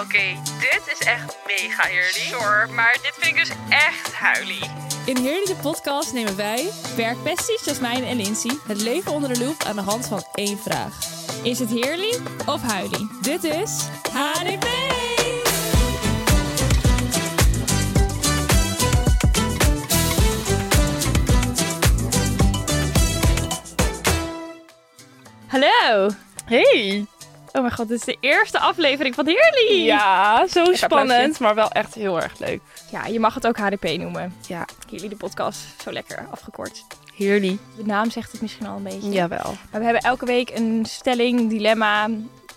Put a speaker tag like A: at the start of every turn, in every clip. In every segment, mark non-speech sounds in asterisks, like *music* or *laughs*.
A: Oké, dit is echt mega eerlijk. Hoor, maar dit vind ik dus echt huilie.
B: In Heerlijke Podcast nemen wij, werkpesties Jasmijn en Lindsay, het leven onder de loep aan de hand van één vraag. Is het heerlijk of huilie? Dit is HDP!
C: Hallo.
D: Hey!
C: Oh mijn god, dit is de eerste aflevering van Heerly.
D: Ja, zo
C: applausje.
D: spannend, maar wel echt heel erg leuk.
C: Ja, je mag het ook HDP noemen.
D: Ja.
C: Heerly de podcast, zo lekker afgekort.
D: Heerlijk.
C: De naam zegt het misschien al een beetje.
D: Jawel.
C: Maar we hebben elke week een stelling, dilemma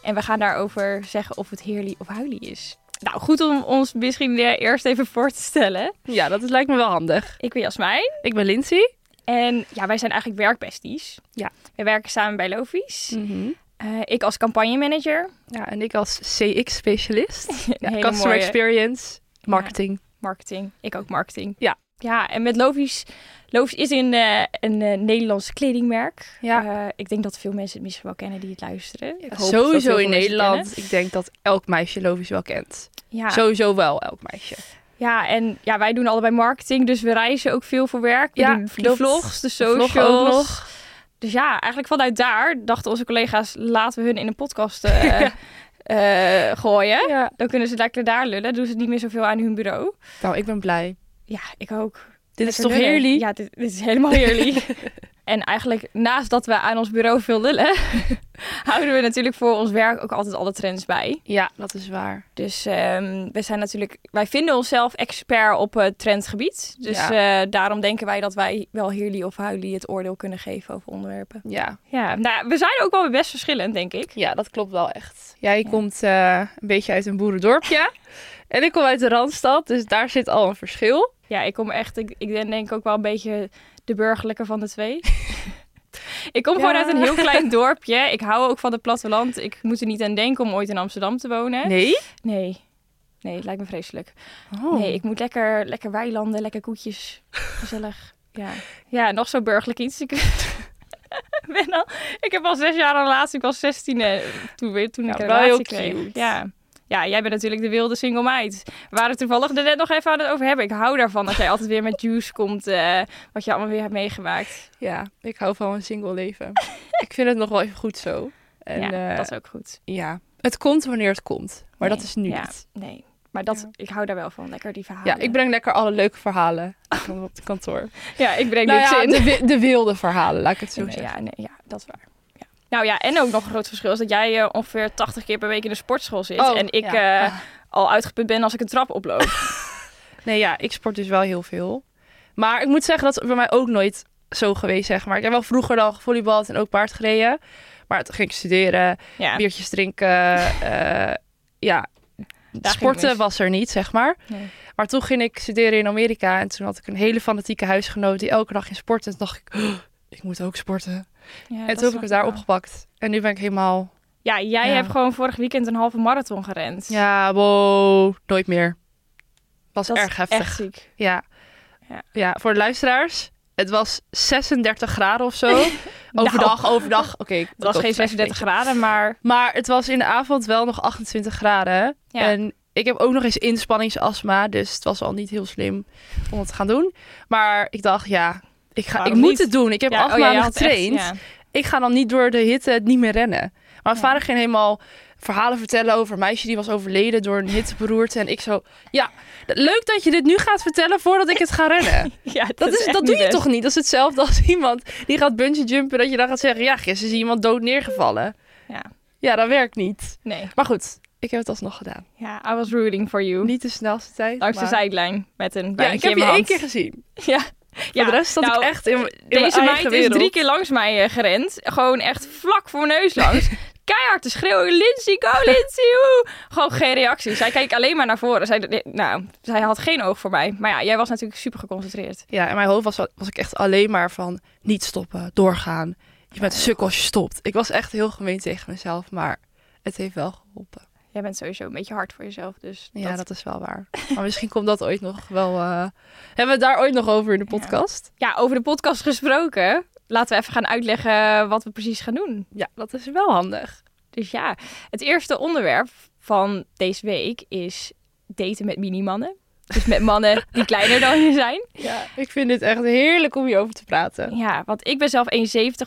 C: en we gaan daarover zeggen of het Heerly of Huilie is. Nou, goed om ons misschien eh, eerst even voor te stellen.
D: Ja, dat is, lijkt me wel handig.
C: Ik ben Jasmijn
D: Ik ben Lindsay.
C: en ja, wij zijn eigenlijk werkbesties.
D: Ja. Mm.
C: Wij werken samen bij Lofies.
D: Mhm.
C: Eh, ik als campagnemanager.
D: Ja, en ik als
B: *laughs*
D: CX-specialist. Ja,
C: Hele
D: customer
C: mooie-
D: experience, marketing.
C: Marketing. Ik ook marketing.
D: Ja.
C: Ja, en met Lovies. Lovies is een, eh, een eh, Nederlands kledingmerk.
D: Ja.
C: Eh, ik denk dat veel mensen het misschien wel kennen die het luisteren. Eh, Ik hoop dat veel
D: Sowieso in
C: mensen het
D: Nederland. Ik denk dat elk meisje Lovies wel kent.
C: kennen. Ja.
D: Sowieso wel elk meisje.
C: ja, en ja, wij doen allebei marketing, dus we reizen ook veel voor werk. We
D: Ja,
C: doen die
D: klopt.
C: vlogs, de
D: Vlog ook
C: socials.
D: nog.
C: Dus ja, eigenlijk vanuit daar dachten onze collega's, laten we hun in een podcast eh, eh, gooien.
D: Ja.
C: Dan kunnen ze lekker daar lullen, doen ze niet meer zoveel aan hun bureau.
D: Nou, ik ben blij.
C: Ja, ik ook.
D: Dit is
C: Lekker
D: toch
C: lullen.
D: heerlijk?
C: Ja, dit, dit is helemaal
D: *laughs*
C: heerlijk. en eigenlijk naast dat we aan ons bureau
D: *laughs*
C: veel lullen, houden we natuurlijk voor ons werk ook altijd alle trends bij.
D: Ja, dat is waar.
C: Dus ehm, we zijn natuurlijk, wij vinden onszelf expert op het trendgebied. Dus eh, daarom denken wij dat wij wel heerlijk of huilie het oordeel kunnen geven over onderwerpen.
D: Ja.
C: Ja, nou, we zijn ook wel best verschillend, denk ik.
D: Ja, dat klopt wel echt. Jij
C: Ja.
D: komt eh, een beetje uit een
C: *laughs*
D: boerendorpje. en ik kom uit de Randstad, dus daar zit al een verschil.
C: Ja, ik kom echt, ik, ik ben denk ook wel een beetje de burgerlijke van
D: *laughs*
C: de twee. ik kom gewoon
D: Ja.
C: uit een heel klein dorpje. Ik hou ook van het platteland. Ik moet er niet aan denken om ooit in Amsterdam te wonen.
D: Nee?
C: Nee, nee het lijkt me vreselijk.
D: Oh.
C: Nee, ik moet lekker, lekker weilanden, lekker koetjes. Gezellig. Ja, ja nog zo burgerlijk iets. Ik, *laughs* ben al, ik heb al zes jaar een relatie. Ik was 16 eh, toen, weer- toen ik
D: Ja,
C: een
D: wel
C: relatie
D: heel
C: kreeg.
D: cute.
C: Ja. ja, jij bent natuurlijk de wilde single meid. We waren het toevallig er net nog even aan het over hebben. Ik hou daarvan dat jij altijd weer met juice komt. eh, wat je allemaal weer hebt meegemaakt.
D: Ja, ik hou van een single leven. *laughs* ik vind het nog wel even goed zo. En,
C: ja,
D: eh,
C: dat is ook goed.
D: ja, het komt wanneer het komt. Maar dat
C: Nee,
D: is nu
C: ja.
D: niet.
C: Nee, maar dat,
D: Ja.
C: ik hou daar wel van. Lekker die verhalen.
D: Ja, ik breng lekker alle leuke verhalen van op het kantoor.
C: ja, ik breng
D: Nou
C: niks
D: ja,
C: in.
D: de, wi- de wilde verhalen, laat ik het zo
C: Nee,
D: zeggen.
C: ja, nee, ja, dat is waar. Ja. Nou ja, en ook nog een groot verschil is dat jij eh, ongeveer 80 keer per week in de sportschool zit.
D: Oh,
C: en ik
D: ja.
C: eh, al uitgeput ben als ik een trap
D: *laughs*
C: oploop.
D: Nee, ja, ik sport dus wel heel veel. Maar ik moet zeggen, dat is bij mij ook nooit zo geweest, zeg maar. Ik heb wel vroeger al volleybald en ook paard gereden. Maar toen ging ik studeren,
C: ja.
D: biertjes drinken. *laughs* eh, ja,
C: het mis.
D: sporten was er niet, zeg maar.
C: Nee.
D: Maar toen ging ik studeren in Amerika. En toen had ik een hele fanatieke huisgenoot die elke dag ging sporten. En toen dacht ik, *gasps* "Oh, ik moet ook sporten. en
C: Ja, dat
D: toen heb
C: snap
D: ik het daar
C: wel.
D: opgepakt. En nu ben ik helemaal,
C: Ja, jij
D: Ja.
C: hebt gewoon vorig weekend een halve marathon gerend.
D: ja, wow, nooit meer. Was
C: dat
D: erg
C: is
D: heftig.
C: echt ziek.
D: Ja.
C: Ja.
D: ja. voor de luisteraars. Het was 36 graden
C: *laughs*
D: of zo. Nou. Overdag, overdag. Oké, ik
C: Het was
D: ook
C: geen
D: een
C: 36
D: beetje.
C: graden, maar
D: Maar het was in de avond wel nog 28 graden.
C: Ja.
D: En ik heb ook nog eens inspanningsastma. Dus het was al niet heel slim om het te gaan doen. Maar ik dacht, ja, ik, ga, ik
C: Waarom
D: moet
C: niet?
D: het doen. Ik heb
C: ja,
D: acht
C: oh ja, jij
D: maanden
C: had echt-
D: getraind.
C: ja. *laughs*
D: Ik ga dan niet door de hitte het niet meer rennen. Maar mijn
C: Ja.
D: vader ging helemaal verhalen vertellen over een meisje die was overleden door een hitteberoerte. En ik zo, ja, leuk dat je dit nu gaat vertellen voordat ik het ga
C: *laughs*
D: rennen.
C: Ja,
D: Dat, is,
C: echt
D: dat
C: niet
D: doe je
C: best.
D: toch niet? Dat is hetzelfde als *laughs* iemand die gaat bungee jumpen. Dat je dan gaat zeggen, ja, gisteren is iemand dood neergevallen.
C: Ja.
D: Ja, dat werkt niet.
C: Nee,
D: Maar goed, ik heb het alsnog gedaan.
C: ja, I was rooting for you.
D: Niet de snelste tijd.
C: Langs de
D: maar-
C: zijlijn met een
D: Ja,
C: bij
D: ik heb je één keer gezien.
C: *laughs* Ja.
D: Ja, de rest zat
C: nou,
D: ik echt in, mijn- in mijn
C: Deze
D: eigen
C: meid is
D: wereld.
C: drie keer langs mij eh, gerend. Gewoon echt vlak voor mijn
D: *laughs*
C: neus langs. Keihard te schreeuwen. Lindsay, go Lindsay, woe. Gewoon geen reactie. Zij keek alleen maar naar voren. Zij, nou, zij had geen oog voor mij. Maar ja, jij was natuurlijk super geconcentreerd.
D: Ja, in mijn hoofd was, was ik echt alleen maar van niet stoppen, doorgaan. Je bent een sukkel als je stopt. Ik was echt heel gemeen tegen mezelf, maar het heeft wel geholpen.
C: Jij bent sowieso een beetje hard voor jezelf. Dus
D: Ja, dat, is wel waar. *laughs* Maar misschien komt dat ooit nog wel... eh, Hebben we het daar ooit nog over in de
C: Ja.
D: podcast?
C: ja, over de podcast gesproken. Laten we even gaan uitleggen wat we precies gaan doen.
D: Ja, dat is wel handig.
C: Dus ja, het eerste onderwerp van deze week is daten met minimannen. Dus met mannen die kleiner dan je zijn.
D: Ja, ik vind dit echt heerlijk om hierover te praten.
C: Ja, want ik ben zelf 1,70,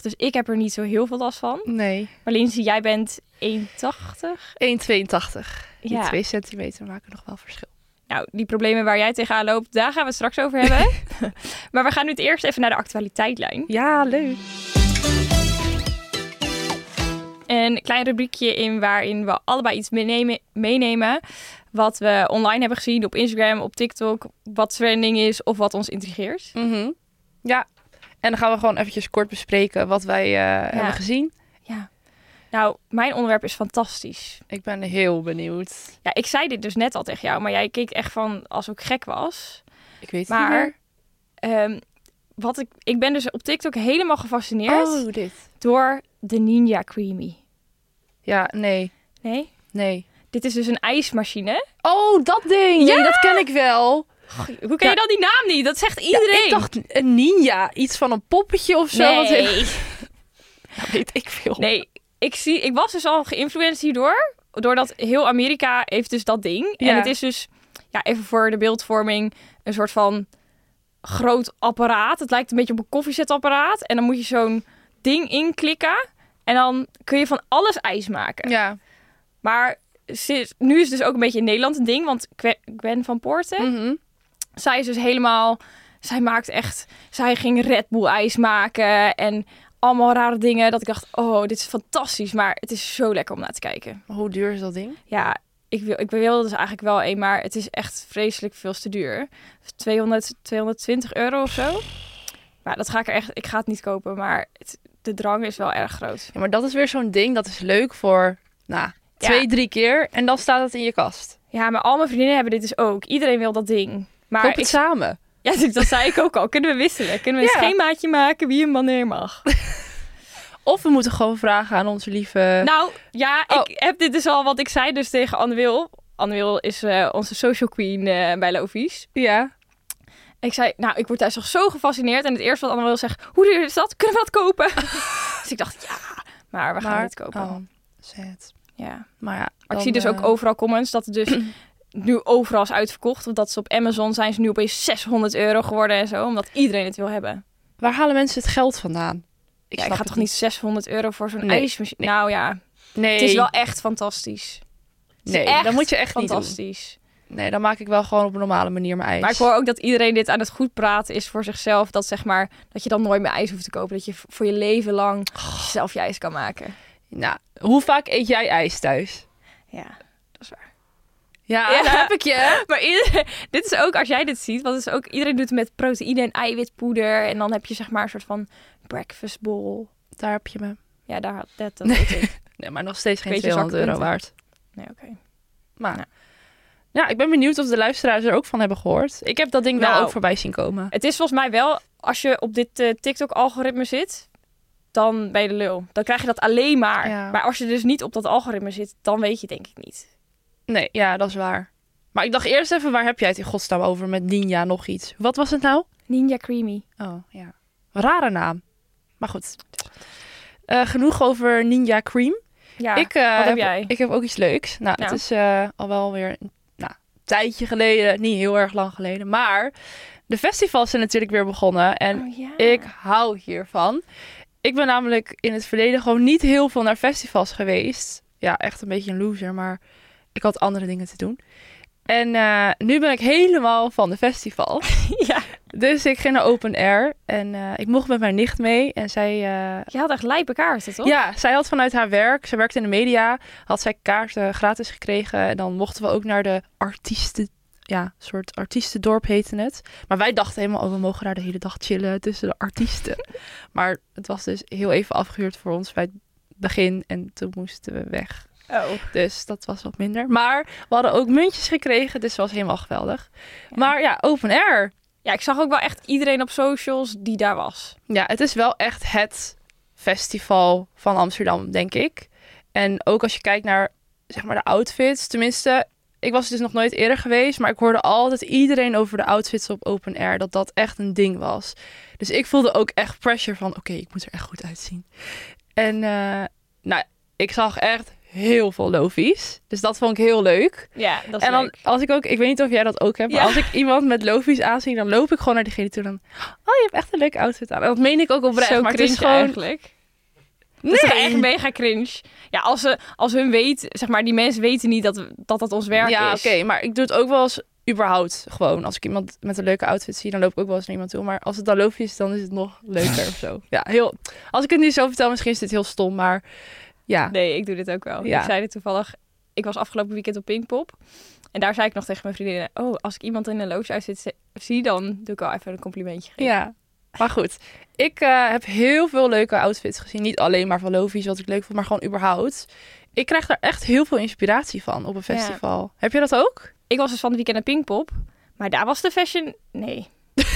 C: dus ik heb er niet zo heel veel last van.
D: Nee.
C: Maar Lindsay, jij bent 1,80.
D: 1,82. Die
C: Ja.
D: twee centimeter maken nog wel verschil.
C: Nou, die problemen waar jij tegenaan loopt, daar gaan we het straks over hebben. maar we gaan nu het eerst even naar de actualiteitlijn.
D: Ja, leuk.
C: Een klein rubriekje in waarin we allebei iets meenemen, meenemen wat we online hebben gezien op Instagram, op TikTok, wat trending is of wat ons intrigeert.
D: Mhm. Ja. En dan gaan we gewoon eventjes kort bespreken wat wij eh, hebben gezien.
C: Ja. Nou, mijn onderwerp is fantastisch.
D: Ik ben heel benieuwd.
C: Ja, ik zei dit dus net al tegen jou, maar jij keek echt van als ik gek was.
D: Ik weet
C: Maar-
D: het
C: Ehm, wat ik, ik ben dus op TikTok helemaal
D: niet
C: gefascineerd
D: meer. Oh, dit.
C: door de Ninja Creamy.
D: Ja, nee.
C: Nee?
D: Nee.
C: Dit is dus een ijsmachine.
D: Oh, dat ding. Ja, dat ken ik wel.
C: Hoe ken je dan die naam niet? Dat zegt
D: Ja,
C: iedereen.
D: ik dacht een ninja. Iets van een poppetje of zo. Wat
C: nee.
D: *laughs* Dat weet ik veel.
C: nee, ik zie, ik was dus al geïnfluenced hierdoor, doordat heel Amerika heeft dus dat ding.
D: Ja.
C: En het is dus, ja, even voor de beeldvorming, een soort van groot apparaat. Het lijkt een beetje op een koffiezetapparaat. En dan moet je zo'n ding inklikken en dan kun je van alles ijs maken.
D: Ja.
C: Maar sinds- nu is het dus ook een beetje in Nederland een ding. Want Gwen- Gwen van Poorten,
D: Mhm.
C: zij is dus helemaal... Zij maakt echt... Zij ging Red Bull ijs maken en allemaal rare dingen. Dat ik dacht, oh, dit is fantastisch. Maar het is zo lekker om naar te kijken.
D: Hoe duur is dat ding?
C: Ja, ik, wil, ik wilde dus eigenlijk wel één, maar het is echt vreselijk veel te duur. 200, 220 euro of zo. Maar dat ga ik er echt... Ik ga het niet kopen, maar het- de drang is wel erg groot.
D: Ja, maar dat is weer zo'n ding. Dat is leuk voor, nou,
C: Ja.
D: twee, drie keer. En dan staat het in je kast.
C: Ja, maar al mijn vriendinnen hebben dit dus ook. Iedereen wil dat ding. Maar
D: Koop het
C: ik-
D: samen.
C: Ja, dus dat zei ik ook al. Kunnen we wisselen? Kunnen we een
D: Ja. Eh,
C: schemaatje maken wie hem
D: *laughs*
C: wanneer mag?
D: Of we moeten gewoon vragen aan onze lieve...
C: nou, ja, ik
D: Oh.
C: heb dit dus al wat ik zei dus tegen Anne Wil. Anne Wil is eh, onze social queen eh, bij Lovies.
D: ja.
C: Ik zei, nou, ik word thuis toch zo gefascineerd. En het eerste wat Anne Wil zegt, hoe duur is dat? Kunnen we dat kopen? *laughs* dus ik dacht, ja, maar we gaan
D: Maar-
C: dit kopen.
D: Oh, sad.
C: Ja.
D: Maar ja.
C: Maar ik
D: dan,
C: zie dus
D: eh,
C: ook overal comments dat het dus *clears throat* nu overal is uitverkocht. Want dat ze op Amazon zijn ze nu opeens 600 euro geworden en zo. Omdat iedereen het wil hebben.
D: Waar halen mensen het geld vandaan?
C: Ik, ja,
D: snap
C: ik ga
D: het
C: toch niet 600 euro voor zo'n
D: Nee,
C: ijsmachine?
D: nee.
C: Nou ja,
D: Nee,
C: het is wel echt fantastisch. Het is
D: nee
C: echt
D: dat moet je echt niet doen.
C: fantastisch.
D: Nee, dan maak ik wel gewoon op een normale manier mijn ijs.
C: Maar ik hoor ook dat iedereen dit aan het goed praten is voor zichzelf. Dat zeg maar, dat je dan nooit meer ijs hoeft te kopen. Dat je v- voor je leven lang
D: Oh.
C: zelf je ijs kan maken.
D: Nou, hoe vaak eet jij ijs thuis?
C: Ja, dat is waar.
D: Ja,
C: Ja.
D: daar heb ik *laughs* je.
C: *laughs* Maar iedereen, dit is ook, als jij dit ziet, want het is ook, iedereen doet het met proteïne en eiwitpoeder. En dan heb je zeg maar een soort van breakfast bowl.
D: Daar heb je me.
C: Ja, daar, dat, dat weet ik.
D: Nee, maar nog steeds geen
C: Beetje
D: 200 euro waard.
C: zakpunten. Nee, oké.
D: Maar
C: Ja.
D: ja. ik ben benieuwd of de luisteraars er ook van hebben gehoord. Ik heb dat ding wel
C: Nou.
D: ook voorbij zien komen.
C: Het is volgens mij wel, als je op dit eh, TikTok-algoritme zit, dan ben je de lul. Dan krijg je dat alleen maar.
D: Ja.
C: Maar als je dus niet op dat algoritme zit, dan weet je denk ik niet.
D: Nee, ja, dat is waar. Maar ik dacht eerst even, waar heb jij het in godsnaam over met Ninja nog iets? Wat was het nou?
C: Ninja Creamy.
D: Oh, ja. Rare naam. Maar goed. Eh, genoeg over Ninja Cream.
C: Ja,
D: ik, eh,
C: wat heb
D: heb
C: jij?
D: ik heb ook iets leuks. Nou,
C: Nou.
D: het is eh, al wel weer een nou, tijdje geleden. Niet heel erg lang geleden. Maar de festivals zijn natuurlijk weer begonnen. En
C: Oh, ja.
D: ik hou hiervan. Ik ben namelijk in het verleden gewoon niet heel veel naar festivals geweest. Ja, echt een beetje een loser, maar ik had andere dingen te doen. En eh, nu ben ik helemaal van de festivals.
C: *laughs* ja.
D: Dus ik ging naar Open Air en eh, ik mocht met mijn nicht mee. En zij, eh,
C: Je had echt lijpe kaarten, toch?
D: ja, zij had vanuit haar werk, ze werkte in de media, had zij kaarten gratis gekregen. En dan mochten we ook naar de artiesten, ja, soort artiestendorp heette het. Maar wij dachten helemaal, oh, we mogen daar de hele dag chillen tussen de artiesten. maar het was dus heel even afgehuurd voor ons bij het begin en toen moesten we weg.
C: Oh.
D: Dus dat was wat minder. Maar we hadden ook muntjes gekregen, dus het was helemaal geweldig. Maar ja, open air.
C: Ja, ik zag ook wel echt iedereen op socials die daar was.
D: Ja, het is wel echt het festival van Amsterdam, denk ik. En ook als je kijkt naar zeg maar de outfits, tenminste, ik was dus nog nooit eerder geweest, maar ik hoorde altijd iedereen over de outfits op open air dat dat echt een ding was. Dus ik voelde ook echt pressure van, oké, ik moet er echt goed uitzien. En eh, nou, ik zag echt heel veel lofies. Dus dat vond ik heel leuk.
C: Ja, dat is
D: en dan
C: leuk.
D: als ik ook, ik weet niet of jij dat ook hebt,
C: Ja.
D: maar als ik iemand met lofies aanzie, dan loop ik gewoon naar diegene toe dan, oh je hebt echt een leuk outfit aan. En dat meen ik ook oprecht,
C: Zo
D: maar het
C: cringe
D: is gewoon
C: eigenlijk. Nee. Dat is toch echt mega cringe. Ja, als, ze, als hun weet, zeg maar, die mensen weten niet dat dat, dat ons werk
D: ja,
C: is.
D: oké, maar ik doe het ook wel eens überhaupt gewoon. Als ik iemand met een leuke outfit zie, dan loop ik ook wel eens naar iemand toe. Maar als het dan loopje is, dan is het nog
C: *laughs*
D: leuker of zo. Ja, heel... Als ik het nu zo vertel, misschien is dit heel stom, maar ja.
C: Nee, ik doe dit ook wel.
D: Ja.
C: Ik zei dit toevallig. Ik was afgelopen weekend op Pinkpop. En daar zei ik nog tegen mijn vriendinnen... Oh, als ik iemand in een loos uitzit ze- zie, dan doe ik al even een complimentje. geven.
D: Ja. Maar goed, ik eh, heb heel veel leuke outfits gezien. Niet alleen maar van lofies, wat ik leuk vond, maar gewoon überhaupt. Ik krijg daar echt heel veel inspiratie van op een
C: Ja.
D: festival. Heb je dat ook?
C: Ik was dus van het weekend naar Pinkpop. Maar daar was de fashion...
D: *laughs*
C: Nee,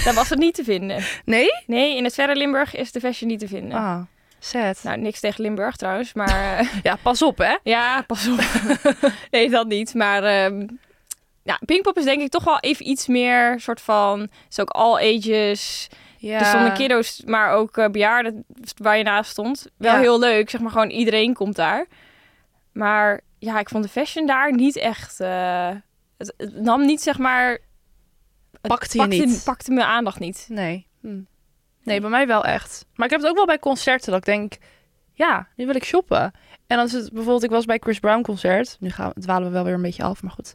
C: daar was het niet te vinden.
D: Nee?
C: Nee, in het verre Limburg is de fashion niet te vinden.
D: Ah, sad.
C: Nou, niks tegen Limburg trouwens, maar... eh, *laughs*
D: Ja, pas op hè.
C: ja,
D: *laughs*
C: pas op. nee, dat niet. Maar ehm nou, Pinkpop is denk ik toch wel even iets meer soort van... Het is ook all ages...
D: Ja.
C: Dus stonden kiddo's, maar ook eh, bejaarden waar je naast stond. Wel
D: Ja.
C: heel leuk, zeg maar gewoon iedereen komt daar. Maar ja, ik vond de fashion daar niet echt... eh, het, het nam niet, zeg maar... het
D: Pakte je niet.
C: Pakte mijn aandacht niet.
D: Nee. Nee, bij mij wel echt. Maar ik heb het ook wel bij concerten dat ik denk, ja, nu wil ik shoppen. En dan is het bijvoorbeeld, ik was bij Chris Brown concert. Nu gaan we, dwalen we wel weer een beetje af, maar goed.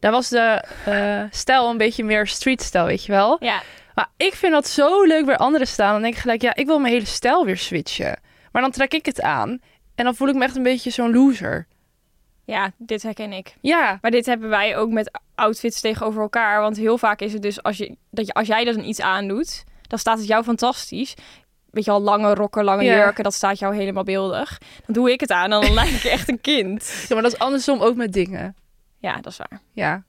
D: Daar was de eh, stijl een beetje meer street stijl, weet je wel.
C: Ja,
D: Maar ik vind dat zo leuk bij anderen staan. Dan denk ik gelijk, ja, ik wil mijn hele stijl weer switchen. Maar dan trek ik het aan en dan voel ik me echt een beetje zo'n loser.
C: ja, dit herken ik.
D: Ja,
C: Maar dit hebben wij ook met outfits tegenover elkaar. Want heel vaak is het dus als, je, dat je, als jij dan iets aandoet, dan staat het jou fantastisch. Weet je al, lange rokken, lange
D: Ja.
C: jurken, dat staat jou helemaal beeldig. Dan doe ik het aan en dan *laughs* lijk ik echt een kind.
D: ja, maar dat is andersom ook met dingen.
C: Ja, dat is waar.
D: Ja.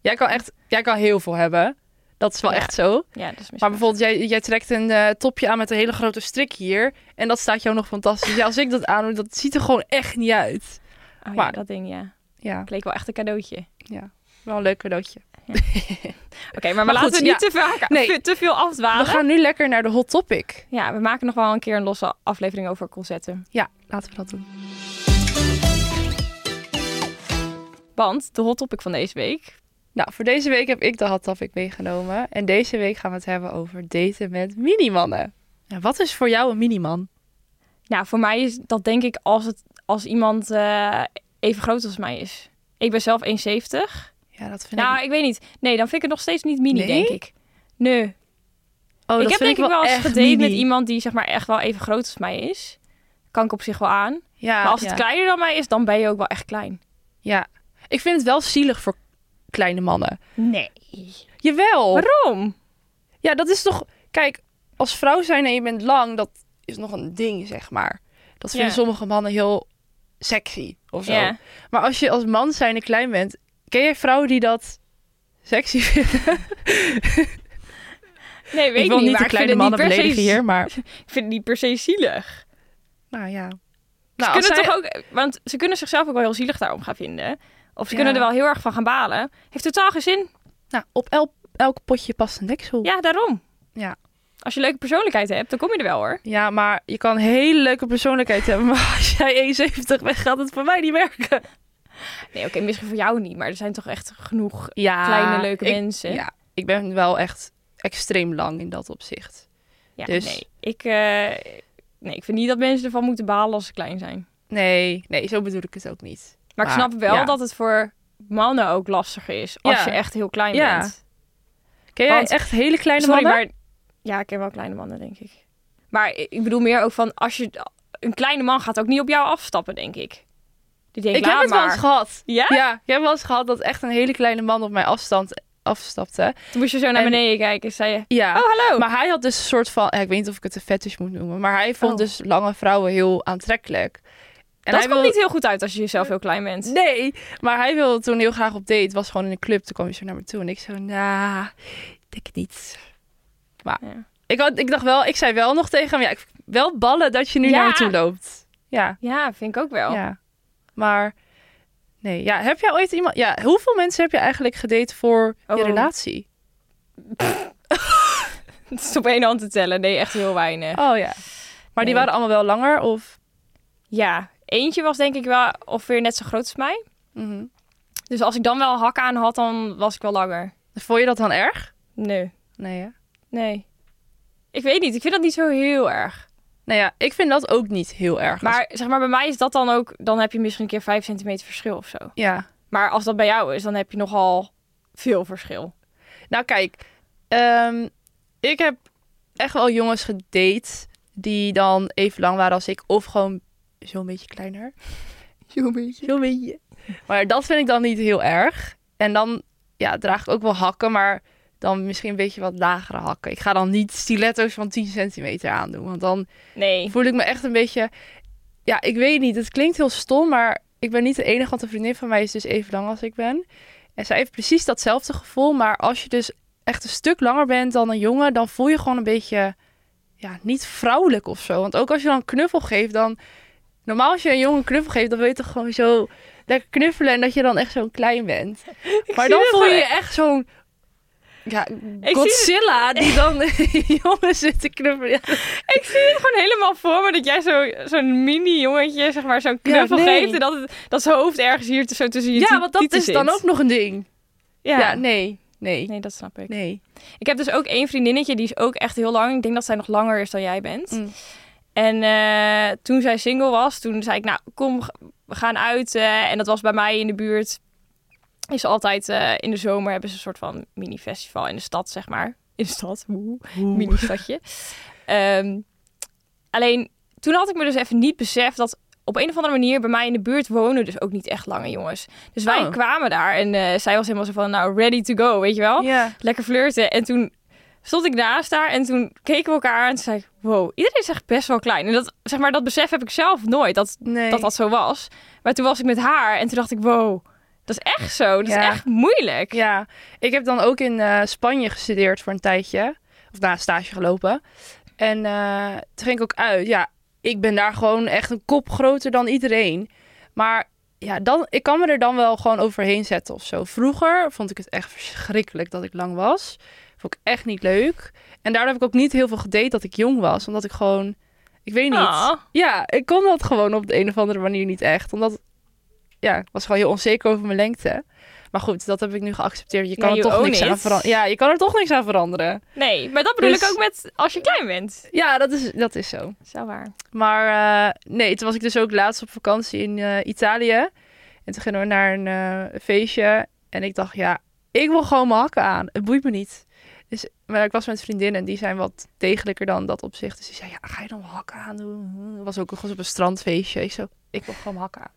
D: Jij kan echt, jij kan heel veel hebben. Dat is wel
C: Ja.
D: echt zo.
C: Ja, dat is mis-
D: Maar bijvoorbeeld, jij, jij trekt een eh, topje aan met een hele grote strik hier. En dat staat jou nog fantastisch. Ja, als ik dat aandoe, dat ziet er gewoon echt niet uit.
C: Oh, ja,
D: maar-
C: dat ding, ja.
D: Ja,
C: Het leek wel echt een cadeautje. Oké,
D: wel een leuk cadeautje.
C: maar,
D: Maar
C: laten
D: goed,
C: we niet te, vaak,
D: Nee.
C: te veel afdwalen.
D: We gaan nu lekker naar de hot topic.
C: Ja, we maken nog wel een keer een losse aflevering over concerten.
D: Ja, laten we dat doen.
C: Want de hot topic van deze week...
D: Nou, voor deze week heb ik de hot topic meegenomen. En deze week gaan we het hebben over daten met minimannen. Ja, wat is voor jou een miniman?
C: Nou, voor mij is dat denk ik als, het, als iemand eh, even groot als mij is. Ik ben zelf 1,70.
D: Ja, dat vind
C: nou,
D: ik...
C: ik... weet niet. Nee, dan vind ik het nog steeds niet mini,
D: Nee?
C: denk ik. Nee.
D: Oh, dat
C: ik heb
D: vind
C: denk ik wel eens
D: echt
C: gedate met
D: mini.
C: iemand die zeg maar echt wel even groot als mij is. Kan ik op zich wel aan.
D: Ja,
C: maar als
D: Ah, ja.
C: het kleiner dan mij is, dan ben je ook wel echt klein.
D: Ja. Ik vind het wel zielig voor kleine mannen.
C: Nee.
D: Jawel.
C: Waarom?
D: Ja, dat is toch... Kijk, als vrouw zijn en je bent lang, dat is nog een ding, zeg maar. Dat vinden
C: Ja.
D: sommige mannen heel sexy of zo.
C: Ja.
D: Maar als je als man zijn en klein bent... Ken jij vrouwen die dat sexy vinden?
C: Nee, weet
D: ik wil niet
C: niet, maar
D: de
C: ik vind
D: kleine
C: het niet
D: mannen
C: per se-
D: beledigen hier, maar...
C: Ik vind het niet per se zielig.
D: Nou ja.
C: Ze
D: Nou, als zij-
C: kunnen toch ook, want ze kunnen zichzelf ook wel heel zielig daarom gaan vinden. Of ze
D: Ja.
C: kunnen er wel heel erg van gaan balen. Heeft totaal geen zin.
D: Nou, op elk, elk potje past een deksel.
C: Ja, daarom.
D: Ja.
C: Als je een leuke persoonlijkheid hebt, dan kom je er wel hoor.
D: Ja, maar je kan een hele leuke persoonlijkheid hebben, maar *laughs* als jij 1,70 bent, gaat het voor mij niet werken.
C: Nee, oké, misschien voor jou niet, maar er zijn toch echt genoeg
D: Ja,
C: kleine leuke
D: ik-
C: mensen.
D: Ja, ik ben wel echt extreem lang in dat opzicht.
C: Ja,
D: dus-
C: nee. Ik, eh, nee, ik vind niet dat mensen ervan moeten balen als ze klein zijn.
D: Nee, nee, zo bedoel ik het ook niet.
C: Maar ik
D: Maar,
C: snap wel
D: ja.
C: dat het voor mannen ook lastiger is als
D: Ja.
C: je echt heel klein
D: Ja.
C: bent.
D: Ken jij
C: Want-
D: echt hele kleine
C: Sorry,
D: mannen?
C: maar... Ja, ik ken wel kleine mannen, denk ik. Maar i- ik bedoel meer ook van... Als je... Een kleine man gaat ook niet op jou afstappen, denk ik. Die denkt,
D: ik heb
C: laat
D: het wel eens
C: maar.
D: gehad.
C: Ja?
D: Ja, ik heb wel eens gehad dat echt een hele kleine man op mijn afstand afstapte.
C: Toen moest je zo naar
D: En-
C: beneden kijken. Zei je,
D: Ja.
C: oh, hallo.
D: Maar hij had dus een soort van, ja, ik weet niet of ik het een fetish moet noemen, maar hij vond
C: Oh.
D: dus lange vrouwen heel aantrekkelijk. En
C: dat
D: hij
C: komt niet heel goed uit als je zelf heel klein bent.
D: Nee, maar hij wilde toen heel graag op date. Was gewoon in een club. Toen kwam hij zo naar me toe en ik zo, nou, denk niet. Maar
C: Ja.
D: ik, had, ik dacht wel, ik zei wel nog tegen hem, ja, ik vind wel ballen dat je nu
C: Ja. Oh.
D: naar me toe loopt. Ja.
C: Ja, *laughs* vind ik ook wel.
D: Ja. Maar nee, ja, heb jij ooit iemand? Ja, hoeveel mensen heb je eigenlijk gedate voor je
C: Oh.
D: relatie?
C: Het is op één hand te tellen. Nee, echt heel weinig.
D: Oh ja. Maar die
C: Nee.
D: waren allemaal wel langer of?
C: Ja, Eentje was denk ik wel ongeveer net zo groot als mij.
D: Mhm.
C: Dus als ik dan wel hak aan had, dan was ik wel langer.
D: Vond je dat dan erg?
C: Nee,
D: Nee, hè?
C: nee. Ik weet niet, ik vind dat niet zo heel erg.
D: Nou ja, ik vind dat ook niet heel erg.
C: Maar zeg maar, bij mij is dat dan ook, dan heb je misschien een keer 5 centimeter verschil of zo.
D: ja.
C: Maar als dat bij jou is, dan heb je nogal veel verschil.
D: Nou, kijk. ehm, ik heb echt wel jongens gedate die dan even lang waren als ik. Of gewoon zo'n beetje kleiner. *laughs* Zo'n beetje. Zo'n beetje. Maar dat vind ik dan niet heel erg. En dan ja, draag ik ook wel hakken, maar dan misschien een beetje wat lagere hakken. Ik ga dan niet stiletto's van 10 centimeter aandoen, want dan
C: Nee.
D: voel ik me echt een beetje... Ja, ik weet niet. Het klinkt heel stom, maar ik ben niet de enige. Want een vriendin van mij is dus even lang als ik ben. En zij heeft precies datzelfde gevoel. Maar als je dus echt een stuk langer bent dan een jongen... dan voel je gewoon een beetje ja, niet vrouwelijk of zo. Want ook als je dan een knuffel geeft, dan... Normaal als je een jongen een knuffel geeft, dan wil je toch gewoon zo lekker knuffelen... en dat je dan echt zo klein
C: *laughs*
D: bent. maar
C: zie
D: dan
C: dat
D: voel
C: wel
D: je je echt zo'n... Ja,
C: zie-
D: Godzilla die dan *laughs* jongen zit te knuffelen. Ja,
C: Ik zie het gewoon helemaal voor me dat jij zo- zo'n mini jongetje, zeg maar, zo'n knuffel
D: Ja, nee.
C: geeft. En dat, het, dat zijn hoofd ergens hier t- zo tussen je
D: Ja,
C: ti-
D: want dat
C: tieten
D: is dan
C: zit.
D: ook nog een ding.
C: Ja,
D: Ja, nee, nee,
C: nee, dat snap ik.
D: nee.
C: Ik heb dus ook één vriendinnetje, die is ook echt heel lang. Ik denk dat zij nog langer is dan jij bent.
D: Mm.
C: En eh, toen zij single was, toen zei ik, nou, kom, g- we gaan uit. eh, en dat was bij mij in de buurt. Is altijd eh, in de zomer hebben ze een soort van mini-festival in de stad, zeg maar. In de stad, woe, mini-stadje. Ehm, alleen, toen had ik me dus even niet beseft dat op een of andere manier bij mij in de buurt wonen dus ook niet echt lange jongens. Dus wij
D: Oh.
C: kwamen daar en eh, zij was helemaal zo van, nou, ready to go, weet je wel
D: Ja.
C: lekker flirten. En toen stond ik naast haar en toen keken we elkaar aan en toen zei ik, wow, iedereen is echt best wel klein. En dat, zeg maar, dat besef heb ik zelf nooit, dat,
D: Nee.
C: dat dat zo was. Maar toen was ik met haar en toen dacht ik, wow, dat is echt zo. Dat
D: Ja.
C: is echt moeilijk.
D: Ja, ik heb dan ook in eh, Spanje gestudeerd voor een tijdje. Of na een stage gelopen. En eh, toen ging ik ook uit. Ja, ik ben daar gewoon echt een kop groter dan iedereen. Maar ja, dan, ik kan me er dan wel gewoon overheen zetten of zo. Vroeger vond ik het echt verschrikkelijk dat ik lang was. Vond ik echt niet leuk. En daardoor heb ik ook niet heel veel gedate dat ik jong was. Omdat ik gewoon, ik weet niet.
C: Ah.
D: Ja, ik kon dat gewoon op de een of andere manier niet echt. Omdat, ja, ik was gewoon heel onzeker over mijn lengte. Maar goed, dat heb ik nu geaccepteerd. Je kan
C: Ja,
D: er
C: you
D: toch
C: own
D: niks
C: it.
D: aan veranderen. Ja, je kan er toch niks aan veranderen.
C: Nee, maar dat bedoel
D: Dus-
C: ik ook met als je klein bent.
D: Ja, dat is, dat is zo.
C: Zo waar.
D: Maar eh, nee, toen was ik dus ook laatst op vakantie in eh, Italië. En toen gingen we naar een eh, feestje. En ik dacht, ja, ik wil gewoon mijn hakken aan. Het boeit me niet. Dus, maar ik was met vriendinnen en die zijn wat degelijker dan dat opzicht. Dus die zei, ja, ga je dan mijn hakken aan doen? Het was ook nog eens op een strandfeestje. Ik zo, ik wil gewoon mijn hakken aan.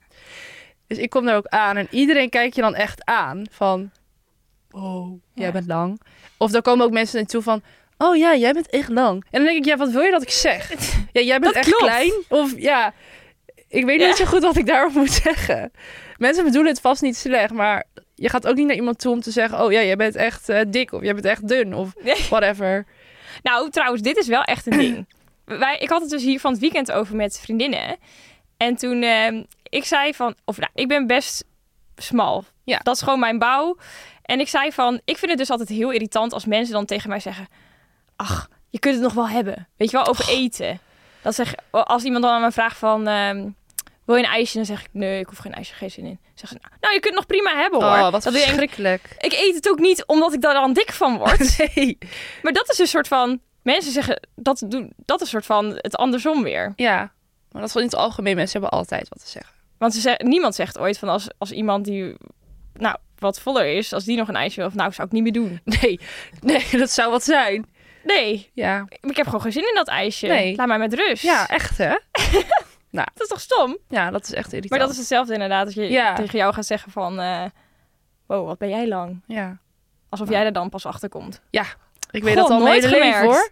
D: Dus ik kom daar ook aan en iedereen kijkt je dan echt aan van, wow, jij
C: Ja.
D: bent lang. Of dan komen ook mensen naartoe van, oh ja, jij bent echt lang. En dan denk ik, ja, wat wil je dat ik zeg?
C: *laughs*
D: Ja, jij bent
C: Dat
D: echt
C: klopt.
D: klein. Of ja, ik weet
C: Ja.
D: niet zo goed wat ik daarop moet *laughs* zeggen. Mensen bedoelen het vast niet slecht, maar je gaat ook niet naar iemand toe om te zeggen, oh ja, jij bent echt eh, dik of jij bent echt dun of
C: Nee. *laughs*
D: whatever.
C: Nou, trouwens, dit is wel echt
D: *clears throat*
C: een ding. Wij, ik had het dus hier van het weekend over met vriendinnen. En toen ehm, ik zei van, of nou, ik ben best smal.
D: Ja.
C: Dat is gewoon mijn bouw. En ik zei van, ik vind het dus altijd heel irritant als mensen dan tegen mij zeggen, ach, je kunt het nog wel hebben. Weet je wel, over
D: Oh.
C: eten. Dat zeg, als iemand dan aan me vraagt van, ehm, wil je een ijsje? Dan zeg ik, nee, ik hoef geen ijsje, geen zin in. Dan Zeggen ze, nou, je kunt het nog prima hebben hoor.
D: Oh, wat
C: dat denk ik,
D: verschrikkelijk.
C: ik eet het ook niet omdat ik daar dan dik van word.
D: *laughs* Nee.
C: Maar dat is een soort van. Mensen zeggen dat, doen- dat is een soort van het andersom weer.
D: Ja, maar dat is wel in het algemeen. Mensen hebben altijd wat te zeggen. *laughs*
C: Want ze zeggen, niemand zegt ooit van als, als iemand die nou, wat voller is, als die nog een ijsje wil, of nou zou ik niet meer doen.
D: Nee, nee, dat zou wat zijn.
C: Nee,
D: Ja,
C: ik heb gewoon geen zin in dat ijsje.
D: Nee.
C: Laat mij met rust.
D: ja echt hè?
C: Dat is toch stom?
D: Ja, dat is echt irritant.
C: Maar dat is hetzelfde inderdaad, als je
D: Ja.
C: tegen jou gaat zeggen van, eh, wow, wat ben jij lang?
D: Ja,
C: Alsof jij er dan pas achter komt.
D: ik weet
C: God,
D: dat al mijn
C: nooit
D: hele leven
C: gemerkt.
D: hoor.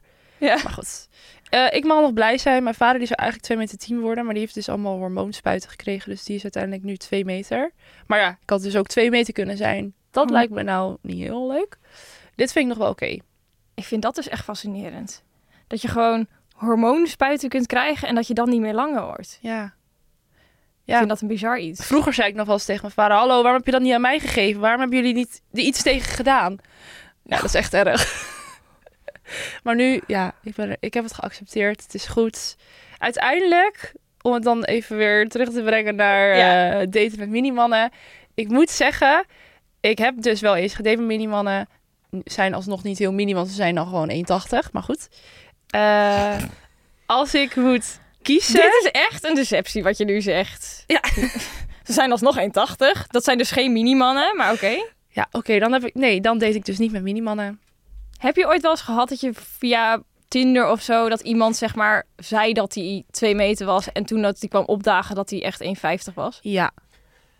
C: Ja.
D: Maar goed. Eh, ik mag nog blij zijn. Mijn vader die zou eigenlijk 2 meter 10 worden. Maar die heeft dus allemaal hormoonspuiten gekregen. Dus die is uiteindelijk nu 2 meter. Maar ja, ik had dus ook 2 meter kunnen zijn. Dat
C: Oh.
D: lijkt me nou niet heel leuk. Dit vind ik nog wel oké.
C: Ik vind dat dus echt fascinerend. Dat je gewoon hormoonspuiten kunt krijgen en dat je dan niet meer langer wordt.
D: Ja.
C: Ik
D: ja.
C: vind dat een bizar iets.
D: Vroeger zei ik nog wel eens tegen mijn vader: Hallo, waarom heb je dat niet aan mij gegeven? Waarom hebben jullie niet er iets tegen gedaan? Nou, dat is echt erg. *laughs* maar nu, ja, ik, ben er- ik heb het geaccepteerd. Het is goed. Uiteindelijk om het dan even weer terug te brengen naar
C: Ja.
D: eh, daten met minimannen. Ik moet zeggen, ik heb dus wel eens gedate met minimannen. Zijn alsnog niet heel mini, want ze zijn dan gewoon 1,80. Maar goed.
C: *laughs*
D: Eh, als ik moet kiezen...
C: Dit is echt een deceptie wat je nu zegt.
D: Ja.
C: *laughs* Ze zijn alsnog 1,80. Dat zijn dus geen minimannen, maar oké.
D: Ja, oké, dan heb ik... Nee, dan date ik dus niet met minimannen.
C: Heb je ooit wel eens gehad dat je via Tinder of zo... dat iemand zeg maar zei dat hij 2 meter was... en toen dat hij kwam opdagen dat hij echt 1,50 was?
D: Ja.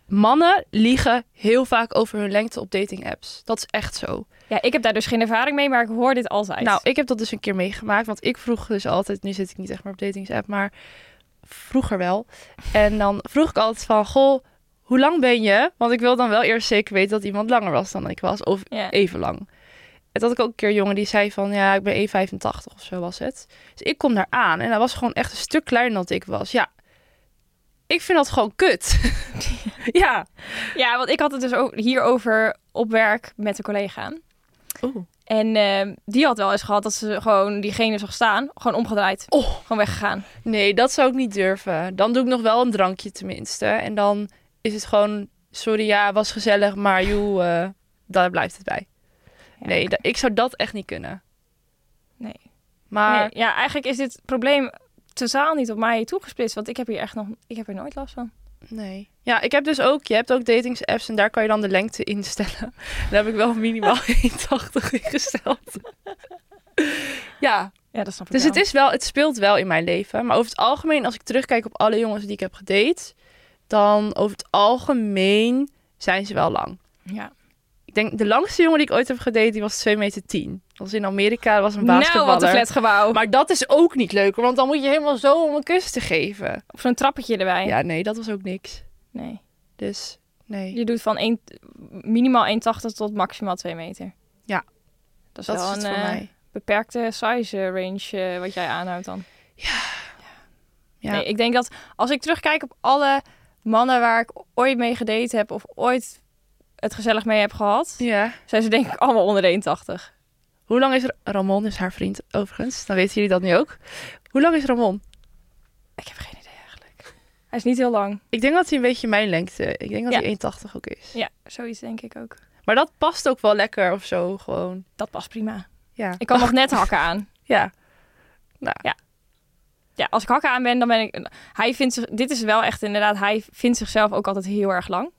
D: Mannen liegen heel vaak over hun lengte op dating apps. Dat is echt zo.
C: Ja, ik heb daar dus geen ervaring mee, maar ik hoor dit altijd.
D: Nou, ik heb dat dus een keer meegemaakt. Want ik vroeg dus altijd... Nu zit ik niet echt meer op datingsapp, maar vroeger wel. En dan vroeg ik altijd van... Goh, hoe lang ben je? Want ik wil dan wel eerst zeker weten dat iemand langer was dan ik was. Of
C: Ja.
D: even lang. En toen had ik ook een keer een jongen die zei van... Ja, ik ben 1,85 of zo was het. Dus ik kom daar aan. En hij was gewoon echt een stuk kleiner dan ik was. Ja, ik vind dat gewoon kut. *laughs* ja.
C: Ja, want ik had het dus ook hierover op werk met een collega.
D: Oeh.
C: En ehm, die had wel eens gehad dat ze gewoon diegene zag staan, gewoon omgedraaid.
D: Oh.
C: Gewoon weggegaan.
D: Nee, dat zou ik niet durven. Dan doe ik nog wel een drankje tenminste. En dan is het gewoon, sorry, ja, was gezellig, maar joe, eh, daar blijft het bij. nee, da- ik zou dat echt niet kunnen.
C: Nee.
D: Maar
C: Nee, ja, eigenlijk is dit probleem totaal niet op mij toegesplitst, want ik heb hier echt nog, ik heb er nooit last van.
D: nee. Ja, ik heb dus ook, je hebt ook datingsapps en daar kan je dan de lengte instellen. *laughs* Daar heb ik wel minimaal *laughs* 1,80 ingesteld. ja,
C: Ja, dat snap ik
D: dus
C: wel.
D: het, is wel, het speelt wel in mijn leven. Maar over het algemeen, als ik terugkijk op alle jongens die ik heb gedate, dan over het algemeen zijn ze wel lang.
C: Ja.
D: Ik denk de langste jongen die ik ooit heb gedate, die was 2 meter 10. Dat was in Amerika, dat was een
C: Nou,
D: basketballer.
C: wat een flatgebouw.
D: Maar dat is ook niet leuk, want dan moet je helemaal zo om een kus te geven.
C: Of zo'n trappetje erbij.
D: Ja, nee, dat was ook niks.
C: Nee.
D: Dus nee.
C: Je doet van één- minimaal 1,80 tot maximaal 2 meter.
D: Ja.
C: Dat is
D: dat
C: wel
D: is het
C: een
D: voor
C: eh,
D: mij.
C: beperkte size eh, range eh, wat jij aanhoudt dan.
D: Ja.
C: Nee, ik denk dat als ik terugkijk op alle mannen waar ik ooit mee gedate heb of ooit het gezellig mee heb gehad,
D: ja.
C: zijn ze denk ik allemaal onder de 180.
D: Hoe lang is Ra- Ramon is haar vriend overigens? Dan weten jullie dat nu ook. Hoe lang is Ramon?
C: Ik heb geen idee eigenlijk. Hij is niet heel lang.
D: Ik denk dat hij een beetje mijn lengte. Ik denk dat
C: Ja.
D: hij 1,80 ook is.
C: Ja, zoiets denk ik ook.
D: Maar dat past ook wel lekker of zo gewoon.
C: Dat past prima.
D: Ja.
C: Ik kan nog net hakken aan.
D: Ja.
C: Ja, als ik hakken aan ben, dan ben ik. Hij vindt zich. Dit is wel echt inderdaad. Hij vindt zichzelf ook altijd heel erg lang.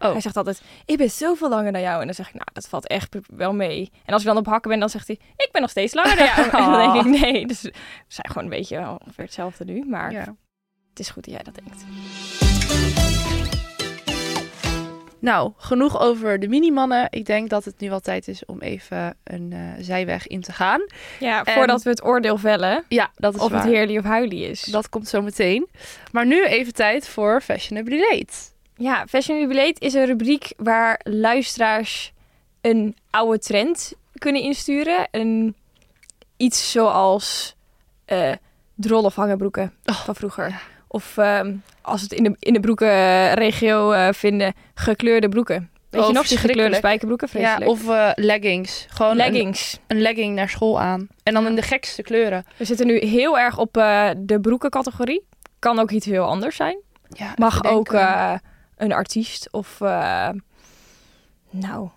D: Oh.
C: Hij zegt altijd: Ik ben zoveel langer dan jou. En dan zeg ik: Nou, dat valt echt wel mee. En als ik dan op hakken ben, dan zegt hij: Ik ben nog steeds langer *laughs* dan jou. En dan denk ik: Nee. Dus we zijn gewoon een beetje wel ongeveer hetzelfde nu. Maar
D: ja.
C: het is goed dat jij dat denkt.
D: Nou, genoeg over de minimannen. Ik denk dat het nu wel tijd is om even een eh, zijweg in te gaan.
C: Ja,
D: En-
C: voordat we het oordeel vellen.
D: Ja, dat is
C: Of
D: waar.
C: het heerlijk of huilie is.
D: Dat komt zo meteen. Maar nu even tijd voor Fashionably Late.
C: Ja, Fashion Jubilate is een rubriek waar luisteraars een oude trend kunnen insturen. Een, iets zoals eh drol of hangenbroeken
D: Oh,
C: van vroeger. Of ehm, als we het in de, in de broekenregio eh, vinden, gekleurde broeken. Weet
D: Oh,
C: je nog, die gekleurde
D: verschrikkelijk.
C: spijkerbroeken? Vreselijk.
D: Ja, of eh, leggings. Gewoon een,
C: leggings.
D: een legging naar school aan. En dan in de gekste kleuren.
C: We zitten nu heel erg op eh, de broekencategorie. Kan ook iets heel anders zijn.
D: Ja,
C: Mag
D: even
C: ook
D: denken.
C: eh, een artiest of eh, nou,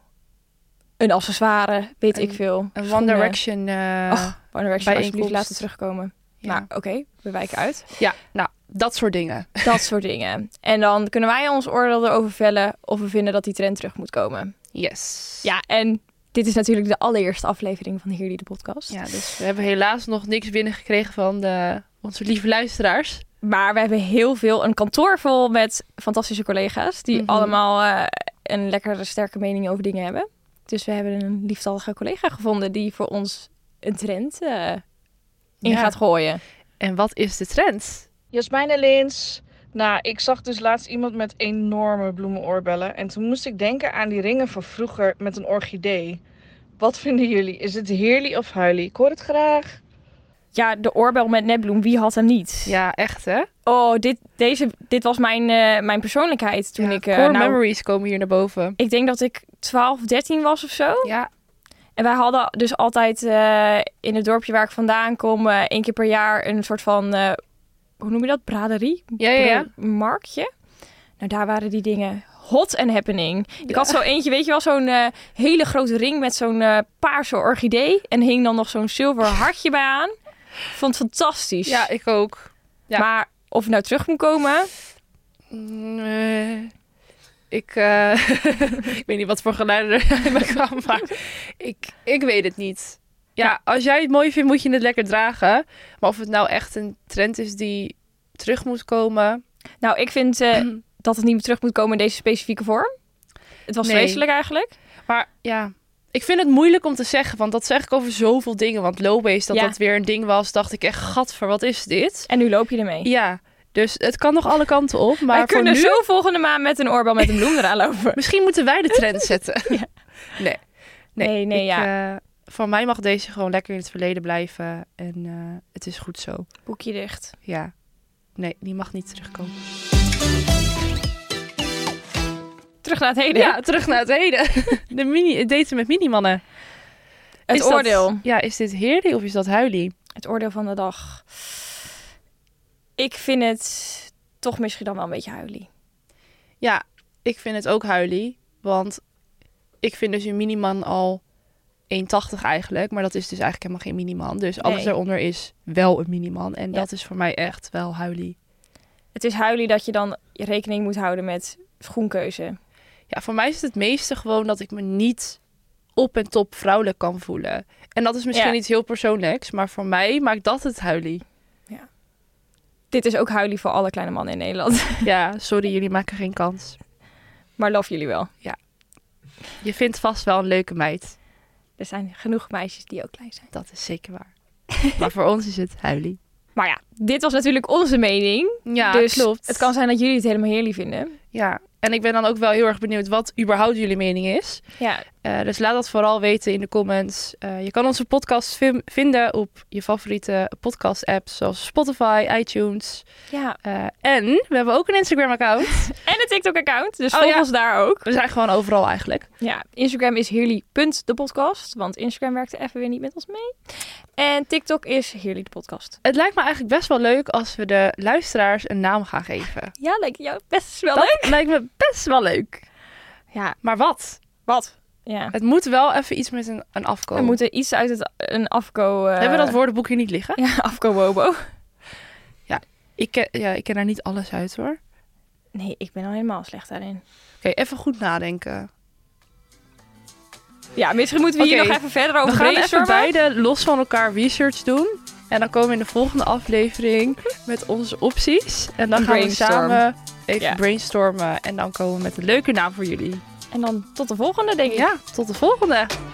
C: een accessoire, weet
D: Een-
C: ik veel.
D: een One
C: Schoenen.
D: Direction. eh,
C: Och, One Direction alsjeblieft
D: bijeenkomst.
C: laten terugkomen.
D: ja.
C: Nou, oké, we wijken uit.
D: ja, nou, dat soort dingen.
C: Dat soort dingen. En dan kunnen wij ons oordeel erover vellen of we vinden dat die trend terug moet komen.
D: Yes.
C: Ja, en dit is natuurlijk de allereerste aflevering van Hier die de podcast.
D: ja, dus we hebben helaas nog niks binnengekregen van de, onze lieve luisteraars.
C: Maar we hebben heel veel, een kantoor vol met fantastische collega's. Die
D: Mhm.
C: allemaal eh, een lekkere, sterke mening over dingen hebben. Dus we hebben een lieftallige collega gevonden die voor ons een trend eh, in
D: Ja.
C: gaat gooien.
D: En wat is de trend?
E: Jasmijn en Lins. Nou, ik zag dus laatst iemand met enorme bloemenoorbellen. En toen moest ik denken aan die ringen van vroeger met een orchidee. Wat vinden jullie? Is het heerlijk of huilie? Ik hoor het graag.
C: Ja, de oorbel met netbloem, wie had hem niet?
D: Ja, echt hè?
C: Oh, dit, deze, dit was mijn, eh, mijn persoonlijkheid toen
D: Ja,
C: ik... eh,
D: core
C: nou,
D: memories komen hier naar boven.
C: ik denk dat ik 12, 13 was of zo.
D: Ja,
C: En wij hadden dus altijd eh, in het dorpje waar ik vandaan kom, eh, één keer per jaar een soort van eh, hoe noem je dat? Braderie?
D: Ja, ja, ja.
C: Bro- Marktje. Nou, daar waren die dingen hot en happening. Ik had zo eentje, weet je wel, zo'n eh, hele grote ring met zo'n eh, paarse orchidee. En hing dan nog zo'n
D: *laughs*
C: zilver hartje bij aan. Vond het fantastisch.
D: Ja, ik ook. ja.
C: Maar of het nou terug moet komen,
D: Nee. Mm, eh, Ik, eh, *laughs* ik weet niet wat voor geluiden er *laughs* uit me kwamen, maar ik, ik weet het niet. Ja, als jij het mooi vindt, moet je het lekker dragen. Maar of het nou echt een trend is die terug moet komen...
C: Nou, ik vind eh,
D: Mm.
C: dat het niet meer terug moet komen in deze specifieke vorm. Het was
D: Nee.
C: vreselijk eigenlijk.
D: Maar ja, ik vind het moeilijk om te zeggen, want dat zeg ik over zoveel dingen. Want low-waste, dat
C: Ja.
D: dat weer een ding was, dacht ik echt, gadver, wat is dit?
C: En nu loop je ermee.
D: Ja, dus het kan nog alle kanten op, maar
C: Wij
D: voor
C: kunnen
D: nu...
C: zo volgende maand met een oorbel met een
D: *laughs*
C: bloem eraan lopen.
D: Misschien moeten wij de trend zetten. Nee. Nee,
C: *laughs* Nee, nee,
D: ik,
C: ja.
D: eh, van mij mag deze gewoon lekker in het verleden blijven. En eh, het is goed zo.
C: Boekje dicht.
D: Ja. Nee, die mag niet terugkomen.
C: Terug naar het heden.
D: Ja, terug naar het
C: *laughs*
D: heden. De mini, het daten met minimannen.
C: het
D: Is dat-
C: oordeel.
D: ja, is dit heerlijk of is dat huilie?
C: Het oordeel van de dag. Ik vind het toch misschien dan wel een beetje huilie.
D: Ja, ik vind het ook huilie. Want ik vind dus een miniman al 1,80 eigenlijk. Maar dat is dus eigenlijk helemaal geen miniman. Dus alles
C: Nee.
D: daaronder is wel een miniman. En
C: Ja.
D: dat is voor mij echt wel huilie.
C: Het is huilie dat je dan je rekening moet houden met schoenkeuze.
D: Ja, voor mij is het het meeste gewoon dat ik me niet op en top vrouwelijk kan voelen. En dat is misschien
C: Ja.
D: iets heel persoonlijks, maar voor mij maakt dat het
C: *laughs*
D: huilie.
C: Dit is ook huilie voor alle kleine mannen in Nederland. *laughs*
D: Ja, sorry, jullie maken geen kans.
C: Maar love jullie wel.
D: Je vindt vast wel een leuke meid.
C: Er zijn genoeg meisjes die ook klein zijn.
D: Dat is zeker
C: *laughs*
D: waar. maar voor ons is het huilie.
C: Maar ja, dit was natuurlijk onze mening.
D: Ja,
C: dus
D: klopt.
C: het kan zijn dat jullie het helemaal heerlijk vinden.
D: Ja, en ik ben dan ook wel heel erg benieuwd wat überhaupt jullie mening is.
C: Ja,
D: Eh, dus laat dat vooral weten in de comments. Eh, je kan onze podcast vim- vinden op je favoriete podcast-apps zoals Spotify, iTunes.
C: ja.
D: Eh, en we hebben ook een Instagram-account.
C: En een TikTok-account, dus
D: Oh,
C: volg
D: ja.
C: ons daar ook.
D: We zijn gewoon overal eigenlijk.
C: Ja, Instagram is heerlijk.depodcast, want Instagram werkte even weer niet met ons mee. En TikTok is heerlijk de podcast.
D: Het lijkt me eigenlijk best wel leuk als we de luisteraars een naam gaan geven.
C: Ja, lijkt jou best wel leuk.
D: Dat lijkt me best wel leuk.
C: Ja,
D: Maar wat?
C: wat? Ja.
D: Het moet wel even iets met een, een afkoop.
C: We moeten iets uit het, een afko... eh,
D: Oh. Hebben we dat woordenboek hier niet liggen?
C: *laughs* Ja, afko-wobo.
D: Ik ken, ja, ik ken daar niet alles uit hoor. Oké,
C: Nee, ik ben al helemaal slecht daarin.
D: even goed nadenken.
C: Ja, misschien moeten we hier
D: Oké.
C: nog even verder over
D: we gaan even
C: brainstormen.
D: beide los van elkaar research doen. En dan komen we in de volgende aflevering met onze opties. En dan
C: Een
D: gaan
C: brainstorm.
D: we samen even
C: Ja.
D: brainstormen. En dan komen we met een leuke naam voor jullie.
C: En dan tot de volgende, denk ik.
D: Ja, tot de volgende.